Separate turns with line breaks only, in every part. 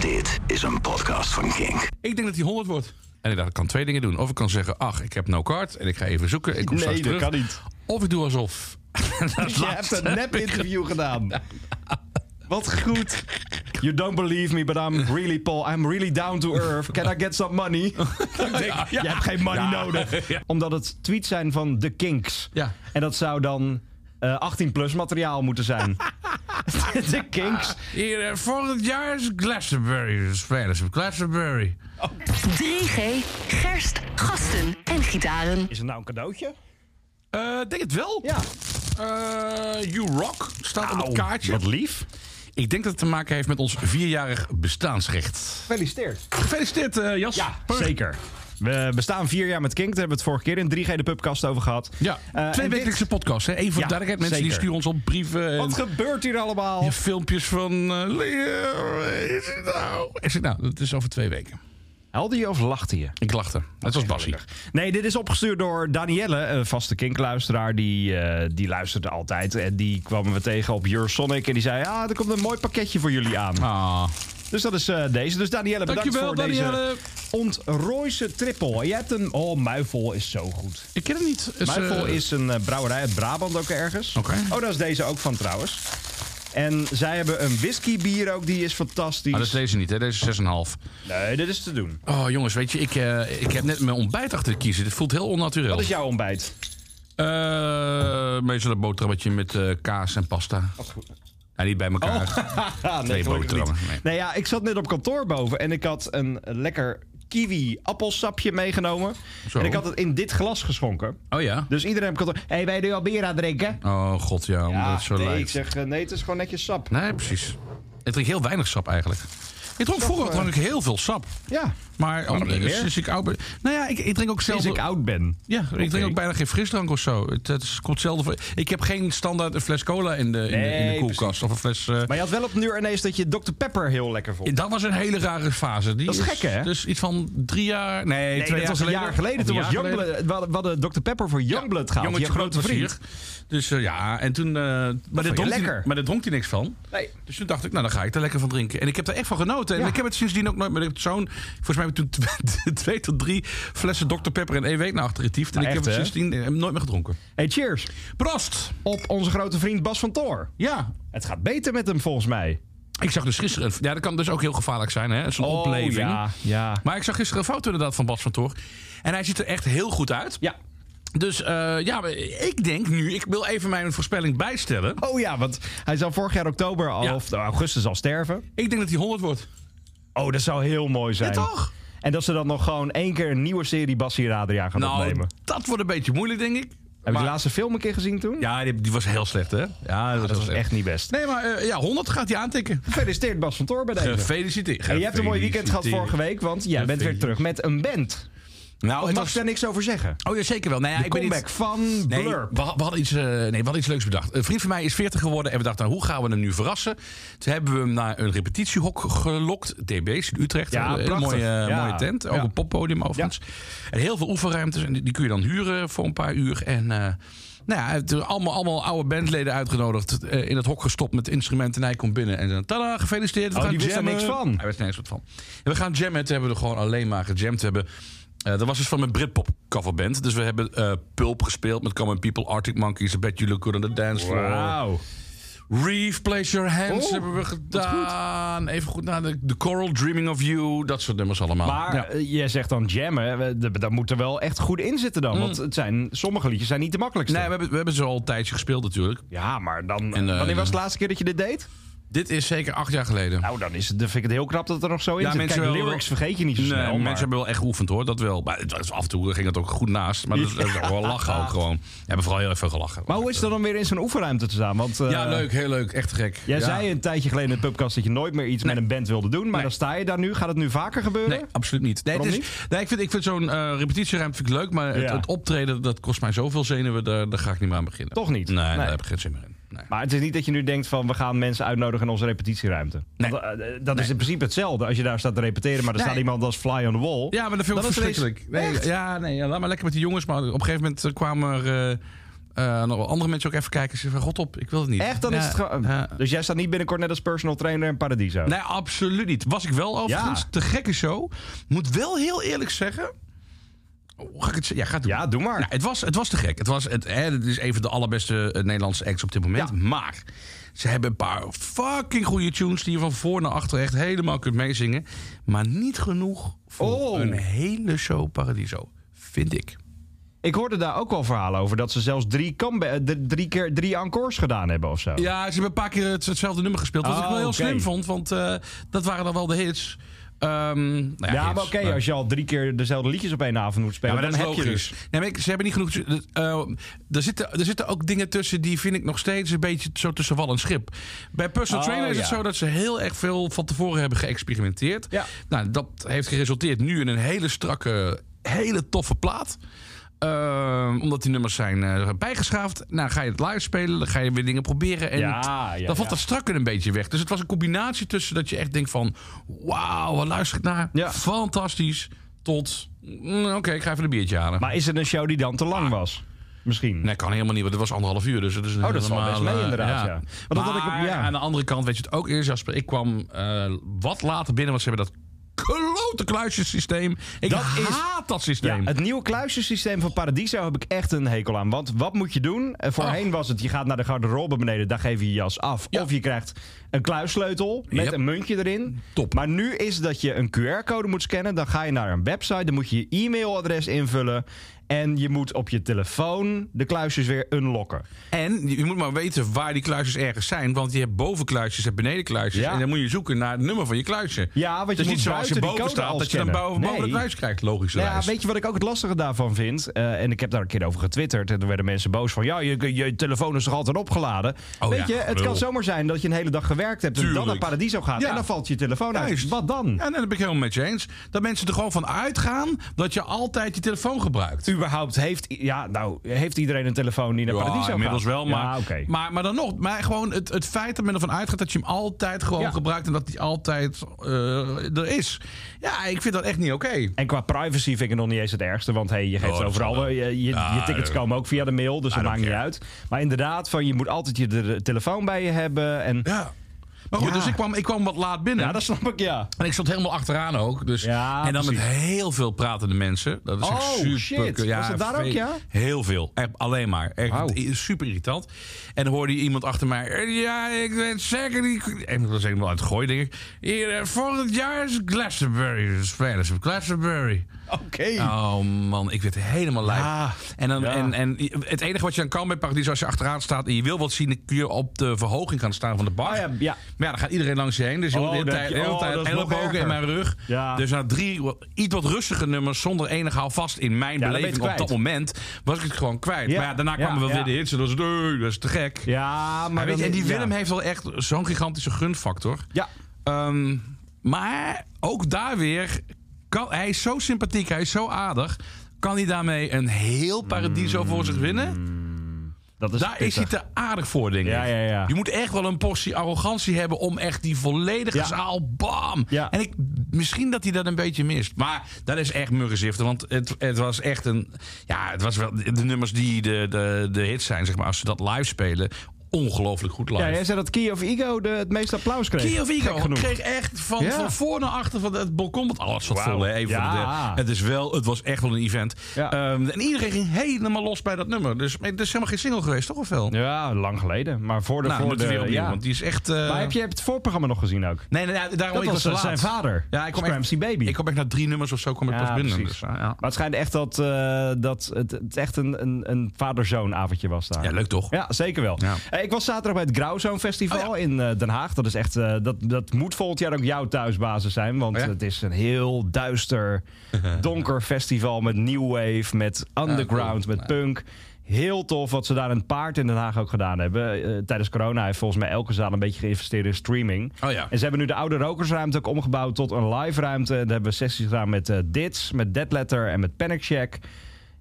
Dit is een podcast van Kink.
Ik denk dat hij 100 wordt. En dat kan twee dingen doen. Of ik kan zeggen, ach, ik heb no card en ik ga even zoeken. Ik kom straks terug.
niet.
Of ik doe alsof. Dat
Je hebt
laatste
een
heb ik
nep-interview gedaan. Wat goed. You don't believe me, but I'm really Paul. I'm really down to earth. Can I get some money? Ik denk, Je hebt geen money nodig. Omdat het tweets zijn van The Kinks.
Ja.
En dat zou dan 18-plus materiaal moeten zijn. The Kinks.
Hier, eh, volgend jaar is Glastonbury. Spelers van Glastonbury.
3G, gerst, gasten en gitaren.
Is het nou een cadeautje?
Eh, denk het wel.
Ja.
Eh, you Rock staat op het kaartje.
Wat lief.
Ik denk dat het te maken heeft met ons vierjarig bestaansrecht.
Gefeliciteerd.
Gefeliciteerd, eh, Jas.
Ja,
Purg.
zeker. We bestaan vier jaar met Kink. Daar hebben we het vorige keer in 3G de Pubcast over gehad.
Ja,
Eh,
twee
en dit-
wekelijkse podcasts. Hè? Even voor
Ja,
de duidelijkheid. Mensen die
zeker.
sturen ons op brieven. En...
Wat gebeurt hier allemaal?
Ja, filmpjes van eh, Leo. Is het nou? Is het nou? Dat is over twee weken.
Helde je of lachte je?
Ik lachte. Het was Bassie.
Nee, dit is opgestuurd door Danielle, een vaste kinkluisteraar. Die, eh, die luisterde altijd. En die kwamen we tegen op Your Sonic. En die zei, ah, er komt een mooi pakketje voor jullie aan.
Ah,
Dus dat is eh, deze. Dus Danielle, bedankt
dankjewel,
voor
Danielle.
deze ontrooise trippel. En Jij hebt een... Oh, Muifel is zo goed.
Ik ken het niet. Het is,
Muifel
eh,
is een eh, brouwerij uit Brabant ook ergens.
Oké.
Oh, daar is deze ook van trouwens. En zij hebben een whiskybier ook, die is fantastisch.
Ah, dat is deze niet, hè? Deze is 6,5.
Nee, dit is te doen.
Oh, jongens, weet je, ik, eh, ik heb net mijn ontbijt achter de kiezen. Dit voelt heel onnatuurlijk.
Wat is jouw ontbijt?
Eh, meestal een boterhammetje met eh, kaas en pasta. Ja, niet bij elkaar.
Ah, Oh. nee,
Twee
gelukkig
boterhammen,
niet.
nee.
Nee, ja, ik zat net op kantoor boven en ik had een lekker kiwi-appelsapje meegenomen.
Zo.
En ik had het in dit glas geschonken.
Oh ja?
Dus iedereen op kantoor... Hé, hey, wij doen al bier aan drinken?
Oh god, ja, omdat
Ja,
het zo
nee, ik
lijkt.
zeg, eh, nee, het is gewoon netjes sap.
Nee, precies. Ik drink heel weinig sap eigenlijk. Ik dronk vroeger
eh,
dronk ik heel veel sap.
Ja,
Maar oh,
niet
eh,
meer?
sinds ik oud ben... Nou ja, ik, ik drink ook zelf...
sinds ik oud ben.
Ja, ik
Oké.
drink ook bijna geen frisdrank of zo. Het, het is- komt zelden voor. Ik heb geen standaard een fles cola in de, in de, in de
Nee,
koelkast. Of een fles... eh,
Maar je had wel op nu ineens dat je Dr. Pepper heel lekker vond.
dat was een hele rare fase. Die
Dat is gek, hè?
Dus iets van drie jaar... Nee,
Nee,
twee jaar
dat was een
geleden.
jaar geleden.
Of
Toen
een
was
jaar geleden.
Youngblood, we hadden- we hadden Dr. Pepper voor Youngbloed gehaald. Je
Jongetje
grote
groot
vriend.
plezier. Dus eh, ja, en toen... eh, maar, dat
je
dronk
lekker.
Hij, maar daar dronk hij niks van.
Nee.
Dus toen dacht ik, nou dan ga ik daar lekker van drinken. En ik heb daar echt van genoten. En
Ja.
ik heb het sindsdien ook nooit meer. Ik heb zo'n, volgens mij heb ik toen twee, twee tot drie flessen Dr. Pepper in één week naar achter getiefd. En
Maar
ik
Nou, echt,
heb het
hè?
sindsdien eh, nooit meer gedronken.
Hey, cheers.
Prost!
Op onze grote vriend Bas van Toor.
Ja,
Het gaat beter met hem volgens mij.
ik zag dus gisteren... Ja, dat kan dus ook heel gevaarlijk zijn, hè? Zo'n opleving.
Oh, ja, ja.
Maar ik zag gisteren een foto inderdaad van Bas van Toor. En hij ziet er echt heel goed uit.
Ja.
Dus eh, ja, maar ik denk nu... Ik wil even mijn voorspelling bijstellen.
Oh ja, want hij zou vorig jaar oktober al,
Ja.
of nou, augustus al sterven.
Ik denk dat hij 100 wordt.
Oh, dat zou heel mooi zijn.
toch?
En dat ze dan nog gewoon één keer een nieuwe serie Bassie en Adriaan gaan
Nou,
opnemen.
dat wordt een beetje moeilijk, denk ik.
Heb je
Maar-
de laatste film een keer gezien toen? Ah,
Ja, die, die was heel slecht, hè? Ja,
Dat was echt niet best.
Nee, maar eh, ja, 100 gaat hij aantikken.
Gefeliciteerd Bas van Toor bij deze.
Gefeliciteerd.
en je hebt een mooi weekend gehad vorige week, want jij bent weer terug met een band.
Nou,
Mag
het
ik
was...
daar niks over zeggen?
Oh ja, zeker wel. Nee, ja,
De
ik ben
comeback
niet...
van
Nee, we,
Blur.
we hadden iets, eh, nee, we hadden iets leuks bedacht. Een vriend van mij is 40 geworden en we dachten, nou, hoe gaan we hem nu verrassen? Toen hebben we hem naar een repetitiehok gelokt. DB's in Utrecht.
Ja,
een hele
prachtig.
mooie, eh,
Ja.
mooie tent. Ook
Ja.
een poppodium overigens. En heel veel oefenruimtes. En die, die kun je dan huren voor een paar uur. En eh, nou ja, het- allemaal, allemaal oude bandleden uitgenodigd. eh, in het hok gestopt met instrumenten. En hij komt binnen en dan, tada, gefeliciteerd. We
Oh,
gaan
die wist daar
jammen.
niks van.
Hij wist er niks wat van. En we gaan jammen. Toen hebben we er gewoon alleen maar gejamd. We hebben... eh, dat was dus van een Britpop coverband. Dus we hebben eh, Pulp gespeeld met Common People, Arctic Monkeys, I Bet You Look Good on the Dance Floor.
Wauw.
Reef, Place Your Hands
Oh,
hebben we gedaan. Even goed naar de, de Coral Dreaming of You. Dat soort nummers allemaal.
Maar
Ja.
eh, jij zegt dan jammen, we- de- daar moet er wel echt goed in zitten dan. Want het zijn, sommige liedjes zijn niet de makkelijkste.
Nee, we hebben, we hebben ze al een tijdje gespeeld natuurlijk.
Ja, maar dan,
En, eh,
wanneer was de laatste keer dat je dit deed?
Dit is zeker acht jaar geleden.
Nou, dan, is het, dan vind ik het heel knap dat het er nog zo in
Ja,
zit.
mensen
Kijk,
wel-
lyrics vergeet je niet zo
Nee,
snel.
mensen
maar-
hebben wel echt geoefend hoor, dat wel. Maar het was- af en toe ging het ook goed naast. Maar dat is dat is ook wel lachen ook gewoon. We hebben vooral heel erg veel gelachen.
Maar hoe is het dan om weer in zo'n oefenruimte te staan? Want, eh,
Ja, leuk, heel leuk. Echt te gek.
Jij
ja.
zei een tijdje geleden in de podcast dat je nooit meer iets met een band wilde doen. Maar
Nee.
dan sta je daar nu. Gaat het nu vaker gebeuren?
Nee, absoluut niet. Nee, het
Waarom
is- nee ik vind, ik vind zo'n eh, repetitieruimte vind ik leuk, maar het,
Ja.
het optreden dat kost mij zoveel zenuwen, daar, daar ga ik niet meer aan beginnen.
Toch niet?
Nee,
Nee.
daar heb ik geen zin meer in. Nee.
Maar het is niet dat je nu denkt van we gaan mensen uitnodigen in onze repetitieruimte.
Nee.
Want, eh, dat is in principe hetzelfde. Als je daar staat te repeteren, maar er
Nee.
staat iemand als fly on the wall.
Ja, maar dat vind ik
Dan
ook
is het ineens-
verschrikkelijk. Nee,
Echt?
ja, nee, ja, laat maar lekker met die jongens. Maar op een gegeven moment eh, kwamen er eh, eh, nog wel andere mensen ook even kijken. Ze zeggen, god op, ik wil het niet.
Echt, dan is
Ja,
het gewoon...
ja.
Dus jij staat niet binnenkort net als personal trainer in Paradiso?
Nee, absoluut niet. Was ik wel overigens.
Ja.
Te gekke show. Moet wel heel eerlijk zeggen. Hoe ga ik het zeggen? Ja, ga het doen.
Ja, doe maar.
Nou, het, was, het was te gek. Het, was, het, hè, het is een van de allerbeste eh, Nederlandse acts op dit moment.
Ja.
Maar ze hebben een paar fucking goede tunes die je van voor naar achter echt helemaal kunt meezingen. Maar niet genoeg voor
Oh.
een hele show Paradiso. Vind ik.
Ik hoorde daar ook wel verhalen over dat ze zelfs drie, comeba- eh, d- drie keer drie encores gedaan hebben of zo.
Ja, ze hebben een paar keer het- hetzelfde nummer gespeeld. Wat
Oh,
ik wel heel
oké.
slim vond, want eh, dat waren dan wel de hits. Ehm, nou ja,
Ja,
hits,
maar oké,
maar-
als je al drie keer dezelfde liedjes op één avond moet spelen,
Ja, maar
dan
dat is
heb je
logisch.
dus.
Nee, maar ik- ze hebben niet genoeg. eh, er, zitten, er zitten ook dingen tussen die vind ik nog steeds een beetje zo tussen wal en schip. Bij personal
Oh,
trainer is het
ja.
zo dat ze heel erg veel van tevoren hebben geëxperimenteerd.
Ja.
Nou, dat heeft geresulteerd nu in een hele strakke, hele toffe plaat. Ehm, omdat die nummers zijn eh, bijgeschaafd. Nou, ga je het live spelen, dan ga je weer dingen proberen. En
Ja, ja,
dan valt
ja.
dat strakker een beetje weg. Dus het was een combinatie tussen dat je echt denkt van... Wauw, wat luister ik naar?
Ja.
Fantastisch. Tot, mm, oké, ik ga even een biertje halen.
Maar is het een show die dan te
Ah.
lang was? Misschien.
Nee, kan helemaal niet, want het was anderhalf uur. Dus het is een
Oh, dat valt
helemaal,
best mee
eh,
inderdaad, ja. Want dat had ik-
Maar
ja.
aan de andere kant weet je het ook eerst, Jasper. Ik kwam eh, wat later binnen, want ze hebben dat klote kluisjesysteem. Ik
Dat is-
haat dat
Ja,
systeem.
het nieuwe kluisjesysteem van Paradiso heb ik echt een hekel aan. Want wat moet je doen? Eh, Voorheen was het, je gaat naar de garderobe beneden, daar geef je je jas af.
Oh. Ja.
Of je krijgt een kluissleutel met
Yep.
een muntje erin.
Top.
Maar nu is dat je een QR-code moet scannen. Dan ga je naar een website, dan moet je je e-mailadres invullen. En je moet op je telefoon de kluisjes weer unlocken.
En je moet maar weten waar die kluisjes ergens zijn. Want je hebt bovenkluisjes en benedenkluisjes.
Ja,
En dan moet je zoeken naar het nummer van je kluisje.
Ja, want je
het is
moet
niet zoals je
buiten die
boven
code
staat
al
dat je dan
scannen.
boven, boven
Nee.
de kluis krijgt, logisch.
Nou ja, weet je wat ik ook het lastige daarvan vind? Eh, en ik heb daar een keer over getwitterd. En toen werden mensen boos van... ja, je, je telefoon is toch altijd opgeladen?
Oh
Weet
ja,
je, het
lul.
kan zomaar zijn dat je een hele dag gewerkt hebt... en dan
Tuurlijk.
naar Paradiso gaat
Ja.
en dan valt je telefoon uit.
Juist.
Wat dan?
Ja, nee, dat ben ik helemaal met je eens. Dat mensen er gewoon van uitgaan dat je altijd je telefoon gebruikt.
Überhaupt heeft, i- ja, nou, heeft iedereen een telefoon die naar Paradiso gaat?
inmiddels wel, maar,
Ja, oké.
maar, maar dan nog. Maar gewoon het, het feit dat men ervan uitgaat dat je hem altijd gewoon
Ja.
gebruikt en dat die altijd eh, er is. Ja, ik vind dat echt niet oké.
En qua privacy vind ik het nog niet eens het ergste. Want hey, je geeft
Oh, dat
overal.
zal wel.
wel- Je, je,
Ja,
je tickets
eh,
komen ook via de mail, dus dat
don't
maakt niet
care.
uit. Maar inderdaad, van, je moet altijd je de- de telefoon bij je hebben. En, ja.
Ja. Maar goed,
Ja.
dus ik kwam, ik kwam wat laat binnen.
dat snap ik, ja.
En ik stond helemaal achteraan ook. Dus,
Ja,
en dan
precies.
met heel veel pratende mensen. Dat is echt
Oh,
super.
shit. Was dat daar ook,
veel-
ja?
Heel veel. Echt alleen maar. Echt
Wauw.
i- super irritant. En dan hoorde je iemand achter mij. "Eh, Ja, ik weet zeker niet. En dat was helemaal uit het gooi, denk ik. Hier, eh, volgend jaar is Glastonbury. de Spelers van Glastonbury.
Oké.
Oh man, ik werd helemaal lijp.
Ja,
en, dan,
ja.
en, en het enige wat je dan kan bij Paradies... als je achteraan staat en je wil wat zien... dan kun je op de verhoging gaan staan van de bar.
Oh ja, ja.
Maar Ah ja, dan gaat iedereen langs je heen. Dus je
Oh,
hoort de hele
dat-
tijd, de hele
oh,
tijd
dat is nog
ellebogen
erger.
in mijn rug.
Ja.
Dus na drie wat- iets wat rustige nummers... zonder enig houvast in mijn
dan ben je het
beleving op dat
kwijt.
moment... was ik het gewoon kwijt.
Ja,
Maar ja, daarna kwamen
ja,
wel weer
ja.
de hits. En dat is, "Nee, dat is te gek.
Ja, maar
Maar weet je,
dan-
en die
ja.
Willem heeft wel echt zo'n gigantische gunfactor.
Ja,
Ehm, maar ook daar weer, kan, hij is zo sympathiek, hij is zo aardig. Kan hij daarmee een heel paradiso voor zich winnen?
dat is
Daar is hij
pittig.
te aardig voor, denk ik.
Ja, ja, ja.
Je moet echt wel een portie arrogantie hebben om echt die volledige
Ja.
zaal, bam.
Ja.
En ik, misschien dat hij dat een beetje mist. Maar dat is echt muggenzichten, want het, het was echt een... Ja, het was wel de nummers die de, de, de hits zijn, zeg maar. Als ze dat live spelen, ongelooflijk goed live.
Ja, jij zei dat Key of Ego de, het meeste applaus kreeg.
Kiev
Gek
Ego
genoeg.
kreeg echt van,
Ja.
van voor naar achter van het balkon. Want alles zat
Wauw.
vol. Hè, even
Ja.
voor de deur. het, is wel, het was echt wel een event.
Ja.
Ehm, en iedereen ging helemaal los bij dat nummer. Dus het is helemaal geen single geweest, toch? Of wel?
Ja, lang geleden. Maar voor de...
nou,
voor
moet
de
je weer opnieuw.
ja.
Want die is echt... eh,
Maar heb je het voorprogramma nog gezien ook?
Nee, nee, nee, daarom
Dat
ik was
was
te
eh,
laat.
zijn vader.
Ja, ik kom echt-
Scramsy Baby.
Ik kwam echt na drie nummers of zo kom ik
Ja,
pas binnen.
precies.
Dus, ah, ja.
Maar het schijnt echt dat, eh, dat het, het echt een, een, een vader-zoon avondje was daar.
ja, leuk toch?
Ja, zeker wel.
Ja.
Eh, ik was zaterdag bij het Grauwzoon Festival
Oh,
in eh, Den Haag. Dat, is echt, eh, dat, dat moet volgend jaar ook jouw thuisbasis zijn. Want
Oh, ja?
het is een heel duister, donker festival met new wave, met underground,
Ah, cool.
met punk. Heel tof wat ze daar een paard in Den Haag ook gedaan hebben. Eh, tijdens corona heeft volgens mij elke zaal een beetje geïnvesteerd in streaming.
Oh ja.
En ze hebben nu de oude rokersruimte ook omgebouwd tot een live ruimte. Daar hebben we sessies gedaan met eh, Dits, met Deadletter en met Panic Shack.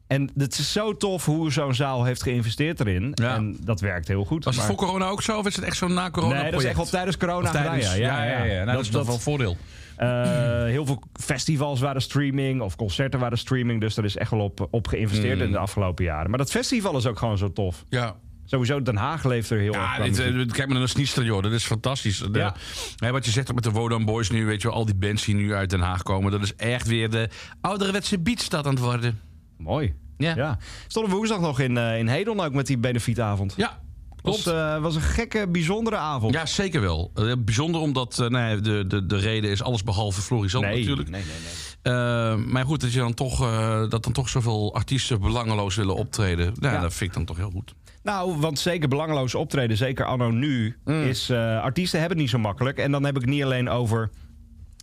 En het is zo tof hoe zo'n zaal heeft geïnvesteerd erin.
Ja.
En dat werkt heel goed.
Was het
maar-
voor corona ook zo? Of is het echt zo'n na-corona
Nee, dat is echt wel tijdens corona.
Tijdens,
gedaan,
ja, ja, ja. Nou, dat, is toch wel een voordeel.
eh, heel veel festivals waren streaming of concerten waren streaming. Dus er is echt wel op, op geïnvesteerd
Hmm.
in de afgelopen jaren. Maar dat festival is ook gewoon zo tof.
Ja,
Sowieso, Den Haag leeft er heel erg
Ja,
qua
dit,
muziek.
eh, kijk maar naar Sniester, joh. Dat is fantastisch. De-
Ja.
hè, wat je zegt ook met de Wodan Boys nu, weet je wel. Al die bands die nu uit Den Haag komen. Dat is echt weer de ouderwetse beatstad aan het worden.
Mooi.
Ja.
Ja. Stonden we woensdag nog in, eh, in Hedel ook met die benefietavond.
Ja, klopt.
was, eh, was een gekke, bijzondere avond.
ja, zeker wel. Eh, Bijzonder omdat eh, nou ja, de, de, de reden is alles behalve Florisant
nee,
natuurlijk.
Nee, nee, nee.
Eh, maar goed, dat, je dan toch, eh, dat dan toch zoveel artiesten belangeloos willen optreden. Nou,
Ja.
Dat vind ik dan toch heel goed.
Nou, want zeker belangeloos optreden, zeker anno nu, is eh, artiesten hebben het niet zo makkelijk. En dan heb ik het niet alleen over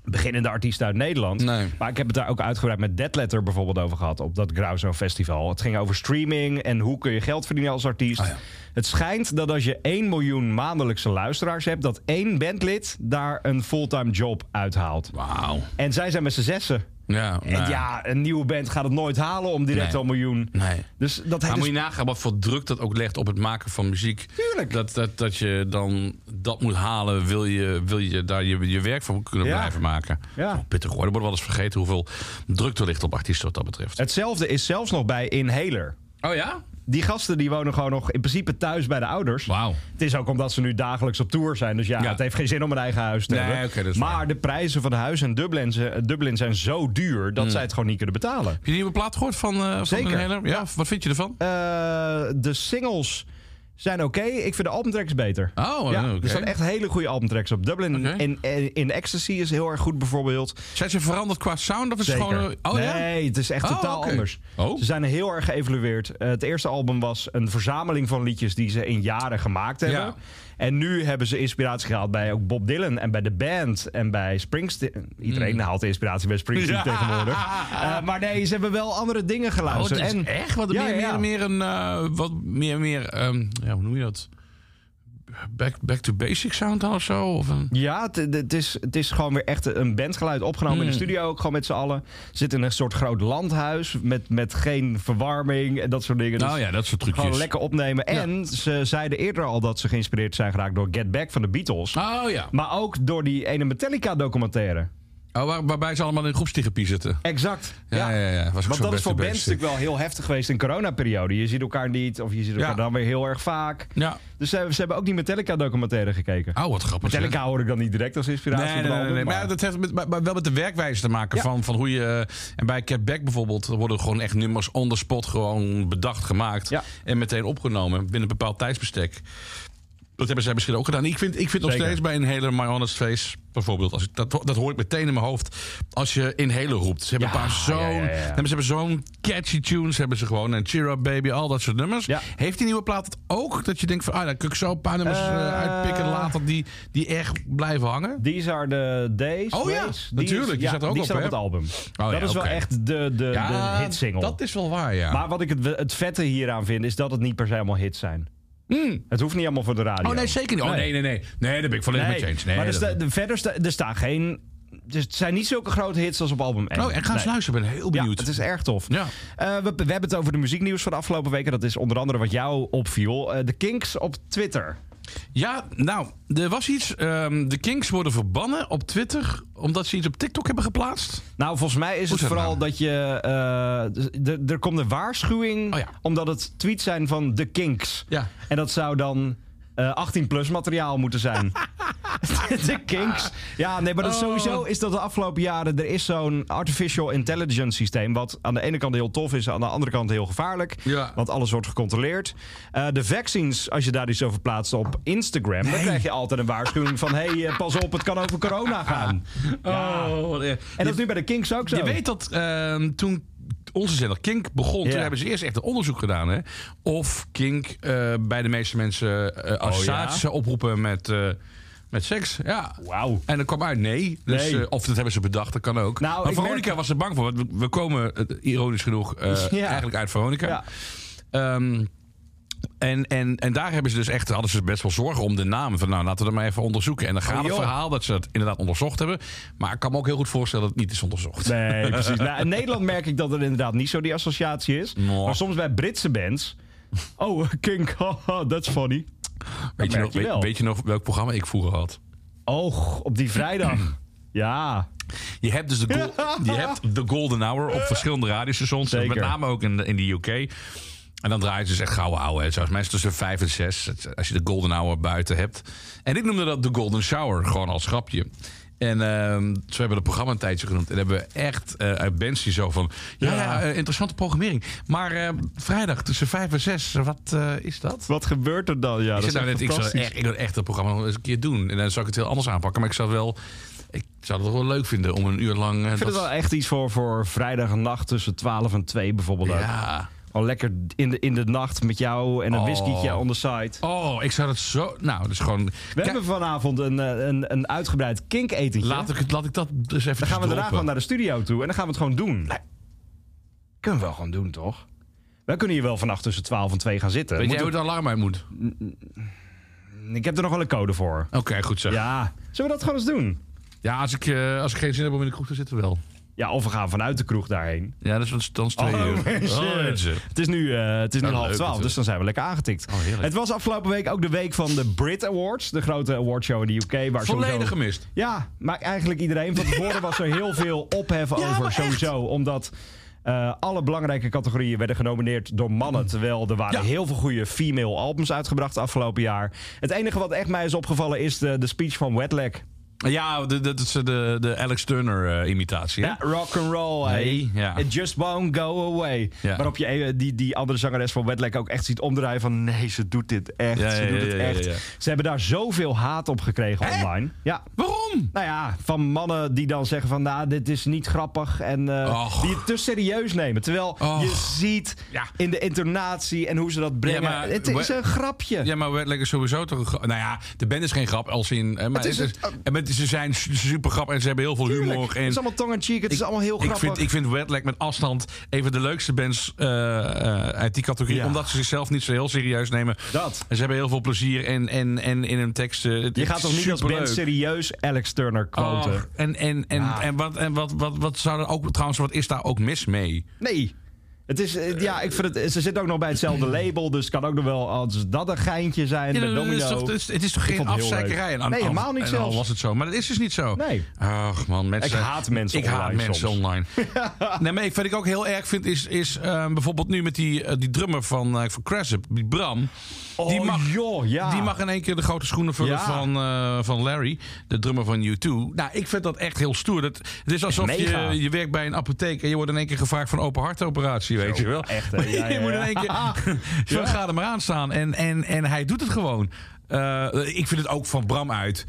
beginnende artiesten uit Nederland.
Nee.
Maar ik heb het daar ook uitgebreid met Deadletter bijvoorbeeld over gehad op dat Grauzo Festival. Het ging over streaming en hoe kun je geld verdienen als artiest.
Ah, ja.
Het schijnt dat als je 1 miljoen maandelijkse luisteraars hebt, dat één bandlid daar een fulltime job uithaalt.
Wauw.
En zij zijn met z'n zessen.
Ja,
En
nou,
ja, een nieuwe band gaat het nooit halen om direct
Nee.
al miljoen.
Nee.
Dus dat
Maar
hele
moet je nagaan wat voor druk dat ook legt op het maken van muziek.
Tuurlijk.
Dat, dat, dat je dan dat moet halen, wil je, wil je daar je, je werk van kunnen
Ja.
blijven maken.
Ja.
Zo pittig hoor. Er wordt wel eens vergeten hoeveel druk er ligt op artiesten wat dat betreft.
Hetzelfde is zelfs nog bij Inhaler.
Oh ja?
Die gasten die wonen gewoon nog in principe thuis bij de ouders.
Wauw.
Het is ook omdat ze nu dagelijks op tour zijn. Dus ja,
Ja.
het heeft geen zin om een eigen huis te
Nee,
hebben.
oké, dat is
maar
waar.
de prijzen van huis in Dublin, ze- Dublin zijn zo duur
Hmm.
dat zij het gewoon niet kunnen betalen.
Heb je die nieuwe plaat gehoord van, eh van
Zeker.
Van Heler? Ja, wat vind je ervan?
Eh, de singles zijn oké. Ik vind de albumtracks beter.
Oh,
ja,
oké.
Er staan echt hele goede albumtracks op. Dublin
Oké.
in, in, in Ecstasy is heel erg goed bijvoorbeeld.
Zijn ze veranderd qua sound of is het
Zeker.
gewoon... eh, Oh ja?
nee, het is echt
Oh,
totaal
oké.
anders.
Oh.
Ze zijn heel erg geëvalueerd. Eh, het eerste album was een verzameling van liedjes die ze in jaren gemaakt hebben.
Ja.
En nu hebben ze inspiratie gehaald bij ook Bob Dylan en bij de band en bij Springsteen. Iedereen haalt inspiratie bij Springsteen
Hmm. Ja.
tegenwoordig. Eh, maar nee, ze hebben wel andere dingen
Oh,
geluisterd.
het is
en
echt wat
Ja,
meer,
ja, ja.
meer, meer een... eh, wat meer, meer... ehm, ja, hoe noem je dat? Back, back to basic sound dan of zo? Of een...
Ja, het- het het is, het is gewoon weer echt een bandgeluid opgenomen
Hmm.
in de studio ook, gewoon met z'n allen. Zit in een soort groot landhuis met, met geen verwarming en dat soort dingen. Dus
Nou ja, dat soort trucjes.
Gewoon lekker opnemen. En ze zeiden eerder al dat ze geïnspireerd zijn geraakt door Get Back van de Beatles.
Oh ja.
Maar ook door die ene Metallica documentaire.
Oh, waar- waarbij ze allemaal in groepstherapie zitten.
Exact.
Ja, ja, ja. Was ook
Want
zo'n
dat is
best
voor
de
bands
beste.
natuurlijk wel heel heftig geweest in coronaperiode. Je ziet elkaar niet of je ziet elkaar
Ja.
dan weer heel erg vaak.
Ja.
Dus ze, hebben- ze hebben ook die Metallica documentaire gekeken.
Oh, wat grappig. zeg.
Metallica hoor ik dan niet direct als inspiratie.
Nee,
van
nee, nee,
de
nee,
album,
Maar
maar-
ja, dat heeft met, maar- maar wel met de werkwijze te maken.
Ja.
Van, van hoe je. eh, En bij Cat Back bijvoorbeeld worden gewoon echt nummers on the spot gewoon bedacht gemaakt.
Ja.
En meteen opgenomen binnen een bepaald tijdsbestek. Dat hebben zij misschien ook gedaan. Ik vind, ik vind nog
Zeker.
steeds bij een hele My Honest Face bijvoorbeeld. Als ik, dat, dat hoor ik meteen in mijn hoofd. Als je in hele roept. Ze hebben
Ja,
een paar zo'n.
ja, ja, ja.
nee, maar Ze hebben zo'n catchy tunes. Hebben ze gewoon. En Cheer Up Baby, al dat soort nummers.
Ja.
Heeft die nieuwe plaat het ook? Dat je denkt van. Ah, dan kun ik zo een paar nummers eh,
Eh.
uitpikken later die, die echt blijven hangen.
These are the days.
Oh ja,
Ways.
natuurlijk, die
ja,
staat er ook
die
op, hè? Oh
het album. dat
ja,
is wel
oké.
echt de, de, de hitsingle.
Dat is wel waar, ja.
Maar wat ik het, het vette hieraan vind, is dat het niet per se allemaal hits zijn. Het hoeft niet allemaal voor de radio.
Hmm. oh nee, zeker niet. Oh nee, nee, nee. Nee, daar ben ik volledig
Nee,
met je eens. Nee,
maar er,
dat-
sta- de- verder sta- er staan geen... Dus het zijn niet zulke grote hits als op album 1.
Oh, en ga eens luisteren. Ik ben heel
Ja,
benieuwd.
het is erg tof.
Ja.
Eh, we, we hebben het over de muzieknieuws van de afgelopen weken. Dat is onder andere wat jou opviel. Eh, de Kinks op Twitter.
Ja, nou, er was iets. ehm, de Kings worden verbannen op Twitter... omdat ze iets op TikTok hebben geplaatst.
Nou, volgens mij is
Hoe
het
is dat
vooral
nou?
dat je... eh, d- d- er komt een waarschuwing,
Oh ja.
omdat het tweets zijn van de Kinks.
Ja.
En dat zou dan 18-plus materiaal moeten zijn. de Kinks. Ja, nee, maar dat
Oh.
sowieso is dat de afgelopen jaren... er is zo'n artificial intelligence systeem... wat aan de ene kant heel tof is... aan de andere kant heel gevaarlijk.
Ja.
Want alles wordt gecontroleerd. Eh, de vaccines, als je daar iets over plaatst op Instagram... dan krijg je altijd een waarschuwing van... hé, hey, eh, pas op, het kan over corona gaan.
Oh, wat erg.
En dat is nu bij de Kinks ook zo.
Je weet dat ehm, toen onze zender Kink begon,
Ja.
toen hebben ze eerst echt een onderzoek gedaan. Hè? Of Kink eh, bij de meeste mensen eh
Oh,
associaties zou oproepen met, eh, met seks. Ja.
Wauw.
En dat kwam uit nee. Dus,
Nee.
eh, of dat hebben ze bedacht, dat kan ook.
Nou,
maar
ik
Veronica
merk-
was er bang voor. Want we- we komen, eh, ironisch genoeg, eh,
Ja.
eigenlijk uit Veronica.
Ja.
Ehm, En, en, en daar hebben ze dus echt, hadden ze best wel zorgen om de naam. Van nou, laten we dat maar even onderzoeken. En dan gaat het
Oh, joh.
verhaal dat ze dat inderdaad onderzocht hebben. Maar ik kan me ook heel goed voorstellen dat het niet is onderzocht.
Nee, precies. Nou, in Nederland merk ik dat er inderdaad niet zo die associatie is.
Nou.
Maar soms bij Britse bands. Oh, Kink, haha, that's funny.
weet, je
merk
nog,
je wel.
weet, weet je nog welk programma ik vroeger had?
Oh, op die vrijdag. Ja.
Je hebt dus de, gol- je hebt de Golden Hour op verschillende radiostations.
Zeker.
Met name ook in de, in de UK. En dan draaien ze dus echt gouden ouwe. hè. Zoals mensen tussen vijf en zes. het- Als je de Golden Hour buiten hebt. En ik noemde dat de Golden Shower. Gewoon als grapje. En ehm ze hebben het programma een tijdje genoemd. En hebben we echt eh, uit bands die zo van... Ja,
Ja.
ja, eh, interessante programmering. Maar eh, vrijdag tussen vijf en zes. Wat eh, is dat?
Wat gebeurt er dan? Ja,
Ik,
dat is
zit daar
echt
net, ik, zou
fantastisch.
echt, ik wil echt dat programma nog eens een keer doen. En dan zou ik het heel anders aanpakken. Maar ik zou wel. Ik zou het wel leuk vinden om een uur lang. eh,
Ik vind
dat-
het wel echt iets voor, voor vrijdagnacht tussen 12 en 2 bijvoorbeeld. ook.
Ja.
Al lekker in de, in de nacht met jou en een
Oh.
whiskytje on the side.
Oh, ik zou dat zo. Nou, dus gewoon.
We
Kijk,
hebben vanavond een, eh, een, een uitgebreid kinketentje.
laat, ik, het- laat ik dat dus even.
Dan gaan we daarna gewoon naar de studio toe en dan gaan we het gewoon doen. Kunnen we wel gewoon doen, toch? Wij kunnen hier wel vannacht tussen 12 en 2 gaan zitten.
Weet jij
Moeten
hoe het alarm uit moet?
we- Ik heb er nog wel een code voor.
Oké, goed zo. Ja,
Ja, zullen we dat gewoon eens doen?
als, ik, eh, als ik geen zin heb om in de kroeg te zitten, wel.
Ja, of we gaan vanuit de kroeg daarheen.
Ja, dat is dan is twee
Oh,
uur.
mensen.
Oh, mensen.
Het is nu, eh, het is nu
Nou,
half
leuk
twaalf, dus
natuurlijk.
dan zijn we lekker aangetikt.
Oh, heerlijk.
het was afgelopen week ook de week van de Brit Awards. De grote awardshow in de UK. Waar sowieso-
Volledig gemist.
Ja, maar eigenlijk iedereen. Van tevoren was er heel veel ophef over, sowieso. Omdat eh, alle belangrijke categorieën werden genomineerd door mannen. Terwijl er waren
Ja.
heel veel goede female albums uitgebracht afgelopen jaar. Het enige wat echt mij is opgevallen is de, de speech van Wetlag.
Ja, de- dat is eh, de, de Alex eh, Turner-imitatie.
Ja, Eh, rock and roll. hey.
Nee, ja.
It just won't go away.
Ja.
Waarop je eh, die, die andere zangeres van Wetlag ook echt ziet omdraaien van... Nee, ze doet dit echt.
Ja,
ze
ja,
doet
ja,
het
ja, ja,
echt.
ja.
Ze hebben daar zoveel haat op gekregen
Hè?
online. Ja.
Waarom?
Nou ja, van mannen die dan zeggen van, nou, dit is niet grappig. En eh,
Och.
die het te serieus nemen. Terwijl je
Och.
ziet
Ja.
in de intonatie en hoe ze dat brengen.
Ja, maar-
het is een grapje.
Ja, maar Wetlag is sowieso toch een grap. Nou ja, de band is geen grap als in. eh, Maar
Het is
het is-
het-
en met, ze zijn su- super grap en ze hebben heel veel
Tuurlijk.
humor. En
Het is allemaal tong en cheek. Het is
ik-
allemaal heel
ik
grappig.
vind, ik vind Wetlag met afstand een van de leukste bands eh, eh, uit die categorie.
Ja.
Omdat ze zichzelf niet zo heel serieus nemen.
Dat.
En ze hebben heel veel plezier en, en, en in hun teksten. Het
je
is
gaat toch niet als band
superleuk.
serieus Alex Turner quoten?
Och, en en, en,
Ja.
en, wat, en wat, wat, wat zou er ook, trouwens, wat is daar ook mis mee?
Nee. Het is, eh, ja, ik vind het, ze zit ook nog bij hetzelfde label, dus het kan ook nog wel als dat een geintje zijn
Ja,
bij
dat- dat is
Domino.
toch- dus Het is, het is toch geen
vond het heel
afzeikerij? En,
leuk. Nee,
en-
helemaal niet
en
zelfs.
Al was het zo, maar dat is dus niet zo.
Nee.
Ach man, mensen.
Ik haat mensen
Ik haat
online
mensen
soms.
online. nee, maar ik- wat ik ook heel erg vind is, is eh, bijvoorbeeld nu met die, eh, die drummer van, eh, van Crash Up, die Bram.
Oh,
die mag,
joh, ja.
Die mag in één keer de grote schoenen vullen
Ja.
van, eh, van Larry, de drummer van U2. Nou, ik vind dat echt heel stoer. Dat, het is alsof
mega.
je, je werkt bij een apotheek en je wordt in één keer gevraagd voor een open hartoperatie, weet je wel.
echt, hè? Ja,
je
ja,
moet
ja.
in één keer... Zo gaat hem maar aan staan. En, en, en hij doet het gewoon. Eh, ik vind het ook van Bram uit.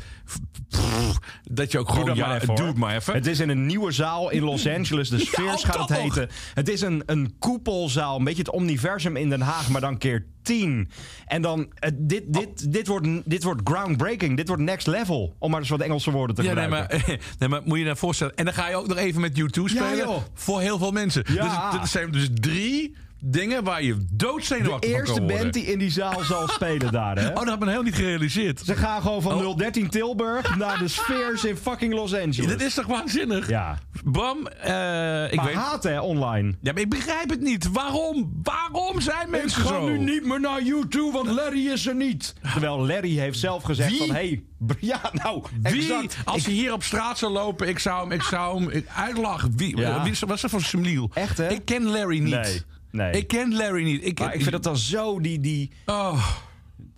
Pff, dat je ook gewoon...
dat
ja,
maar even,
doe
hoor.
het maar even.
Het is in een nieuwe zaal in Los Angeles. De sfeer
ook
gaat
dat
het
nog.
heten. Het is een, een koepelzaal. Een beetje het universum in Den Haag, maar dan keer tien. En dan, eh, dit,
Oh.
dit, dit, wordt, dit wordt groundbreaking. Dit wordt next level. Om maar eens wat Engelse woorden te
Ja, nee
gebruiken.
maar, eh, nee, maar moet je je nou voorstellen. En dan ga je ook nog even met U2 spelen.
joh.
voor heel veel mensen.
Ja.
Dus dat zijn dus drie dingen waar je doodzenuwachtig
de
van kan
eerste
worden.
band die in die zaal zal spelen daar, hè?
Oh, dat heb ik heel niet gerealiseerd.
Ze gaan gewoon van
Oh.
013 Tilburg naar de sfeers in fucking Los
Ja,
Angeles.
dat is toch waanzinnig?
Ja.
Bram, eh, ik
Maar
weet...
haat hè, online.
Ja, maar ik begrijp het niet. Waarom? Waarom zijn mensen zo?
niet meer naar YouTube, want Larry is er niet. Terwijl Larry heeft zelf gezegd
Wie?
van... Hey, ja, nou,
Wie,
exact.
als hij hier op straat zou lopen, ik zou hem, ik zou hem ik- uitlachen. Wie,
Ja.
wie is, wat is dat voor smiel?
Echt, hè?
Ik ken Larry niet.
Nee, nee.
Ik ken Larry niet. Ik,
Maar ik vind dat dan zo die... die
Oh.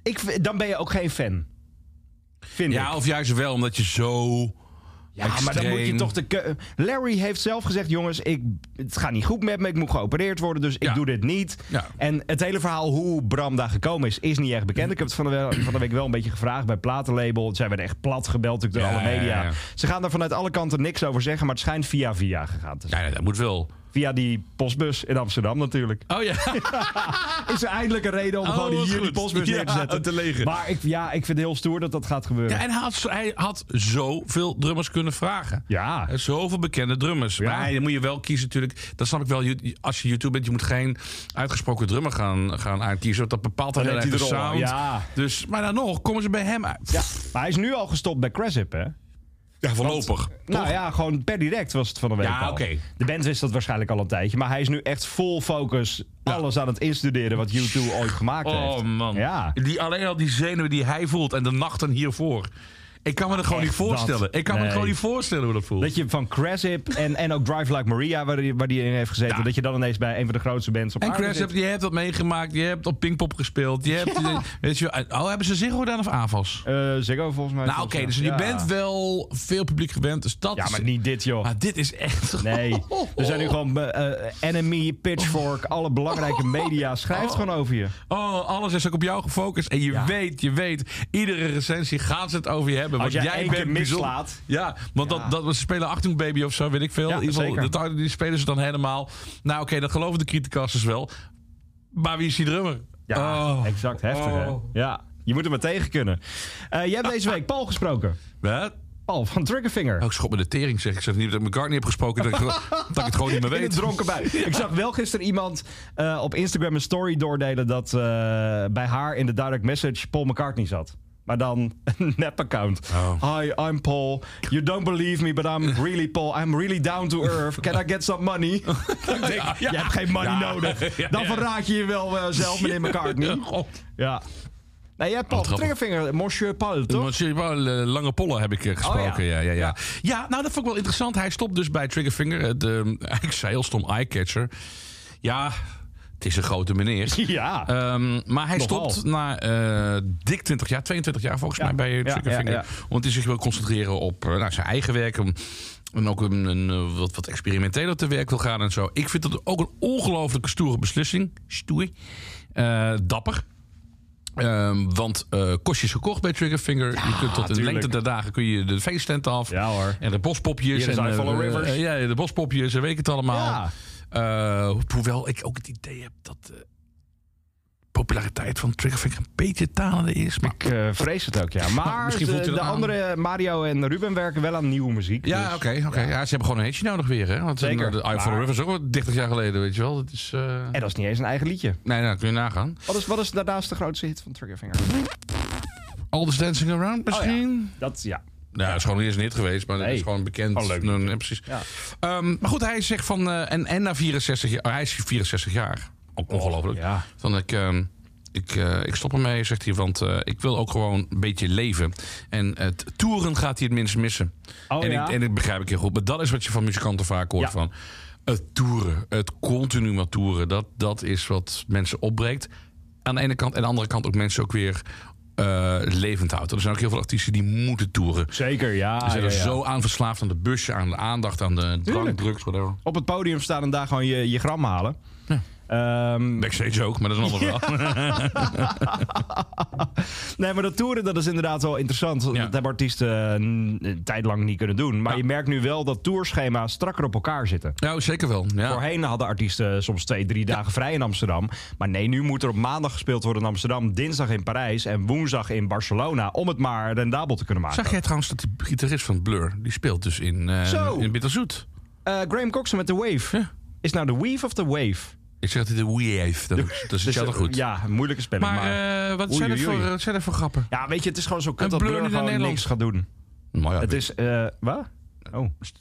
ik, vind- dan ben je ook geen fan. Vind ik.
Ja, of juist wel, omdat je zo...
Ja, maar dan moet je toch de keu- Larry heeft zelf gezegd, jongens, ik, het gaat niet goed met me. Ik moet geopereerd worden, dus ik
Ja.
doe dit niet.
Ja.
En het hele verhaal hoe Bram daar gekomen is, is niet echt bekend. Ik heb het van de, we- van de week wel een beetje gevraagd bij platenlabel. Zij werden echt plat gebeld natuurlijk door
Ja,
alle media.
ja, ja.
Ze gaan daar vanuit alle kanten niks over zeggen, maar het schijnt via via gegaan te zijn.
Ja, nee, dat moet wel.
Via die postbus in Amsterdam natuurlijk.
Oh ja.
Is er eindelijk een reden om
Oh,
gewoon
wat
hier die
goed.
postbus neer te
Ja,
zetten?
te legen.
Maar ik, ja, ik vind het heel stoer dat dat gaat gebeuren.
Ja, en hij had, zo- hij had zoveel drummers kunnen vragen.
Ja.
Er Zoveel bekende drummers.
Ja.
Maar dan moet je wel kiezen natuurlijk. Dat snap ik wel. Je- Als je YouTube bent, je moet geen uitgesproken drummer gaan, gaan uitkiezen. Want dat bepaalt dan
Dan
heel erg
heeft
de
hij de rol,
sound.
ja.
Dus, maar dan nog, komen ze bij hem uit.
Ja, maar hij is nu al gestopt bij Crasip, hè?
Ja, voorlopig.
Nou ja, gewoon per direct was het van de week
Ja,
al.
oké.
De band wist dat waarschijnlijk al een tijdje. Maar hij is nu echt vol focus alles aan het instuderen wat U2 ooit gemaakt heeft.
Oh man.
Ja.
Die, alleen al die zenuwen die hij voelt en de nachten hiervoor. Ik kan me dat gewoon
Echt
niet voorstellen.
dat.
Ik kan me
Nee.
het gewoon niet voorstellen hoe dat voelt.
Dat je van Crasip en, en ook Drive Like Maria, waar die, waar die in heeft gezeten... dat je dan ineens bij een van de grootste bands op
En
aarde
Crash,
zit.
hebt- je hebt dat meegemaakt. Je hebt op Pinkpop gespeeld. Je hebt, weet je, oh, hebben ze Ziggo gedaan of AFAS?
Eh, Ziggo volgens mij.
Nou oké,
volgens mij.
dus je
Ja.
bent wel veel publiek gewend. Dus dat
Ja,
is-
maar niet dit, joh.
Maar Oh. dit is echt...
Nee, er zijn nu gewoon eh, eh, Enemy, Pitchfork, alle belangrijke media schrijft gewoon over je.
Oh, alles is ook op jou gefocust. En je
Ja.
weet, je weet, iedere recensie gaan ze het over je hebben.
Als
Want
jij
jij
één
bent
keer
bijzonder-
mislaat.
Ja, want
Ja.
Dat, dat, ze spelen Achtung Baby of zo, weet ik veel.
Ja,
In ieder geval,
zeker.
de target, die spelen ze dan helemaal. Nou oké, dat geloven de criticasters wel. Maar wie is die drummer?
Ja,
Oh.
exact. Heftig, hè?
Oh.
Ja, je moet er maar tegen kunnen. Eh, jij hebt deze week Paul gesproken.
Wat?
Paul van Triggerfinger.
Oh, ik schop met de tering, zeg ik. Ik zeg niet dat ik mijn niet heb gesproken, dat ik, dat ik het gewoon niet meer
In
weet.
het dronken bij. Ik zag wel gisteren iemand eh, op Instagram een story doordelen dat eh, bij haar in de direct message Paul McCartney zat. Maar dan een nep-account.
Oh.
Hi, I'm Paul. You don't believe me, but I'm really Paul. I'm really down to earth. Can I get some money? Ik denk, Je hebt geen money nodig.
Ja,
Dan
ja.
verraad je je wel eh, zelf, meneer McCartney.
God.
Ja. Nee, jij hebt Paul
grappig.
Triggerfinger, Monsieur Paul, toch? Oh,
Monsieur Paul, eh, Lange Pollen heb ik eh, gesproken.
ja.
ja. Ja, ja, Ja, nou dat vond ik wel interessant. Hij stopt dus bij Triggerfinger. Het, eh, eigenlijk zei heel stom eyecatcher. Ja, het is een grote meneer.
Ja.
Ehm, maar hij
Nogal.
stopt na eh, dik 20 jaar, 22 jaar volgens
Ja.
mij bij
Ja,
Triggerfinger.
ja, ja.
Omdat hij zich wil concentreren op eh, nou, zijn eigen werk. om- En ook een, een, eh, wat, wat experimenteler te werk wil gaan en zo. Ik vind dat ook een ongelooflijke stoere beslissing. Stoer. Eh, dapper. Ehm, want eh kostjes gekocht bij Triggerfinger. je kunt tot in
tuurlijk.
lengte der dagen kun je de feesttent af.
Ja, hoor.
En de bospopjes.
Hier is
en,
I
eh,
Follow
eh,
Rivers.
eh, ja, de bospopjes en weet ik het allemaal.
Ja.
Eh, hoewel ik ook het idee heb dat de populariteit van Triggerfinger een beetje talende is. Maar
Ik eh, vrees het ook, ja. Maar
misschien voelt
de,
hij
de
dat aan.
andere, eh, Mario en Ruben, werken wel aan nieuwe muziek.
ja,
dus-
oké. oké. ja. ze hebben gewoon een hitje nodig weer. Hè? Want
Zeker.
eh, de I
Maar-
Follow Rivers is ook wel 30 jaar geleden, weet je wel. Dat is, eh,
En dat is niet eens een eigen liedje.
Nee, nou, kun je nagaan.
Wat is, wat is daarnaast de grootste hit van Triggerfinger?
All This Dancing Around misschien?
Dat, Oh, ja.
Nou, het is gewoon eerst een hit geweest, maar dat
Nee.
is gewoon bekend.
Oh, leuk.
Nee, nee, precies.
Ja.
Ehm, maar goed, hij zegt van. eh, en, en na 64 jaar. Hij is 64 jaar. Ook ongelooflijk.
Ja.
Van ik. ehm, ik, eh, ik stop ermee, zegt hij, want eh, ik wil ook gewoon een beetje leven. En het toeren gaat hij het minst missen.
Oh,
en,
ja?
ik, en dat begrijp ik heel goed. Maar dat is wat je van muzikanten vaak hoort.
Ja.
Van het toeren, het continu maar toeren. Dat, dat is wat mensen opbreekt. Aan de ene kant. En aan de andere kant ook mensen ook weer eh, levend houdt. Er zijn ook heel veel artiesten die moeten toeren.
Zeker, ja.
Ze zijn
ja,
er
ja.
zo aan verslaafd aan de busje, aan de aandacht, aan de drank,
Tuurlijk.
drugs, whatever.
Op het podium staan en daar gewoon je, je gram halen. Ehm,
Backstage ook, maar dat is een ander verhaal.
nee, maar dat toeren dat is inderdaad wel interessant.
Ja.
Dat hebben artiesten eh, een tijd lang niet kunnen doen. Maar
Ja.
je merkt nu wel dat tourschema's strakker op elkaar zitten.
Nou, zeker wel. Ja.
Voorheen hadden artiesten soms twee, drie dagen vrij in Amsterdam. Maar nee, nu moet er op maandag gespeeld worden in Amsterdam, dinsdag in Parijs en woensdag in Barcelona. Om het maar rendabel te kunnen maken.
Zag jij trouwens dat die gitarist van Blur, die speelt dus in,
Zo.
eh in Bitterzoet.
Eh, Graham Coxon met The Wave.
Ja.
Is nou The Weave of The Wave?
Ik zeg dat hij de Wii heeft, dat is, dat is
Dus,
hetzelfde
eh,
goed.
Ja, een moeilijke spelling. Maar,
Maar eh, wat,
Oei,
zijn er
oei,
voor,
oei.
wat zijn er voor grappen?
ja, weet je, het is gewoon zo
Een
kut dat
blur
Blur
in
gewoon
Nederland.
niks gaat doen.
Nou ja,
Het
weet-
is... eh wat? Oh.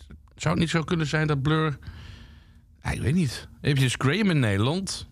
Zou het niet zo kunnen zijn dat Blur... Ja, ik weet niet. Heb je dus Graham in Nederland,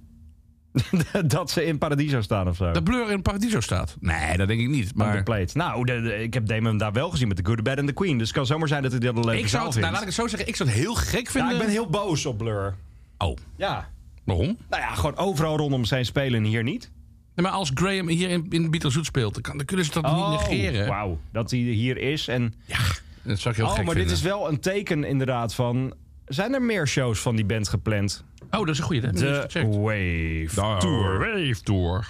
dat ze in Paradiso staan of zo.
dat Blur in Paradiso staat? Nee, dat denk ik niet.
maar...
Maar
Nou, de- de- ik heb Damon daar wel gezien met The Good, The Bad and The Queen. Dus het kan zomaar zijn dat hij dat een leuke
ik zou
zaal
het,
vindt.
nou, laat ik het zo zeggen, ik zou het heel gek
Ja,
vinden.
ik ben heel boos op Blur.
Oh,
Ja.
waarom?
Nou ja, gewoon overal rondom zijn spelen en hier niet.
Nee, maar als Graham hier in, in Beatlesoet speelt, dan, kan, dan kunnen ze dat niet negeren.
Oh. Wauw, dat hij hier is. En...
Ja, dat zou ik heel
Oh,
gek
maar dit
vinden.
is wel een teken inderdaad van... Zijn er meer shows van die band gepland?
Oh, dat is een goede.
De Wave Tour.
Wave Tour.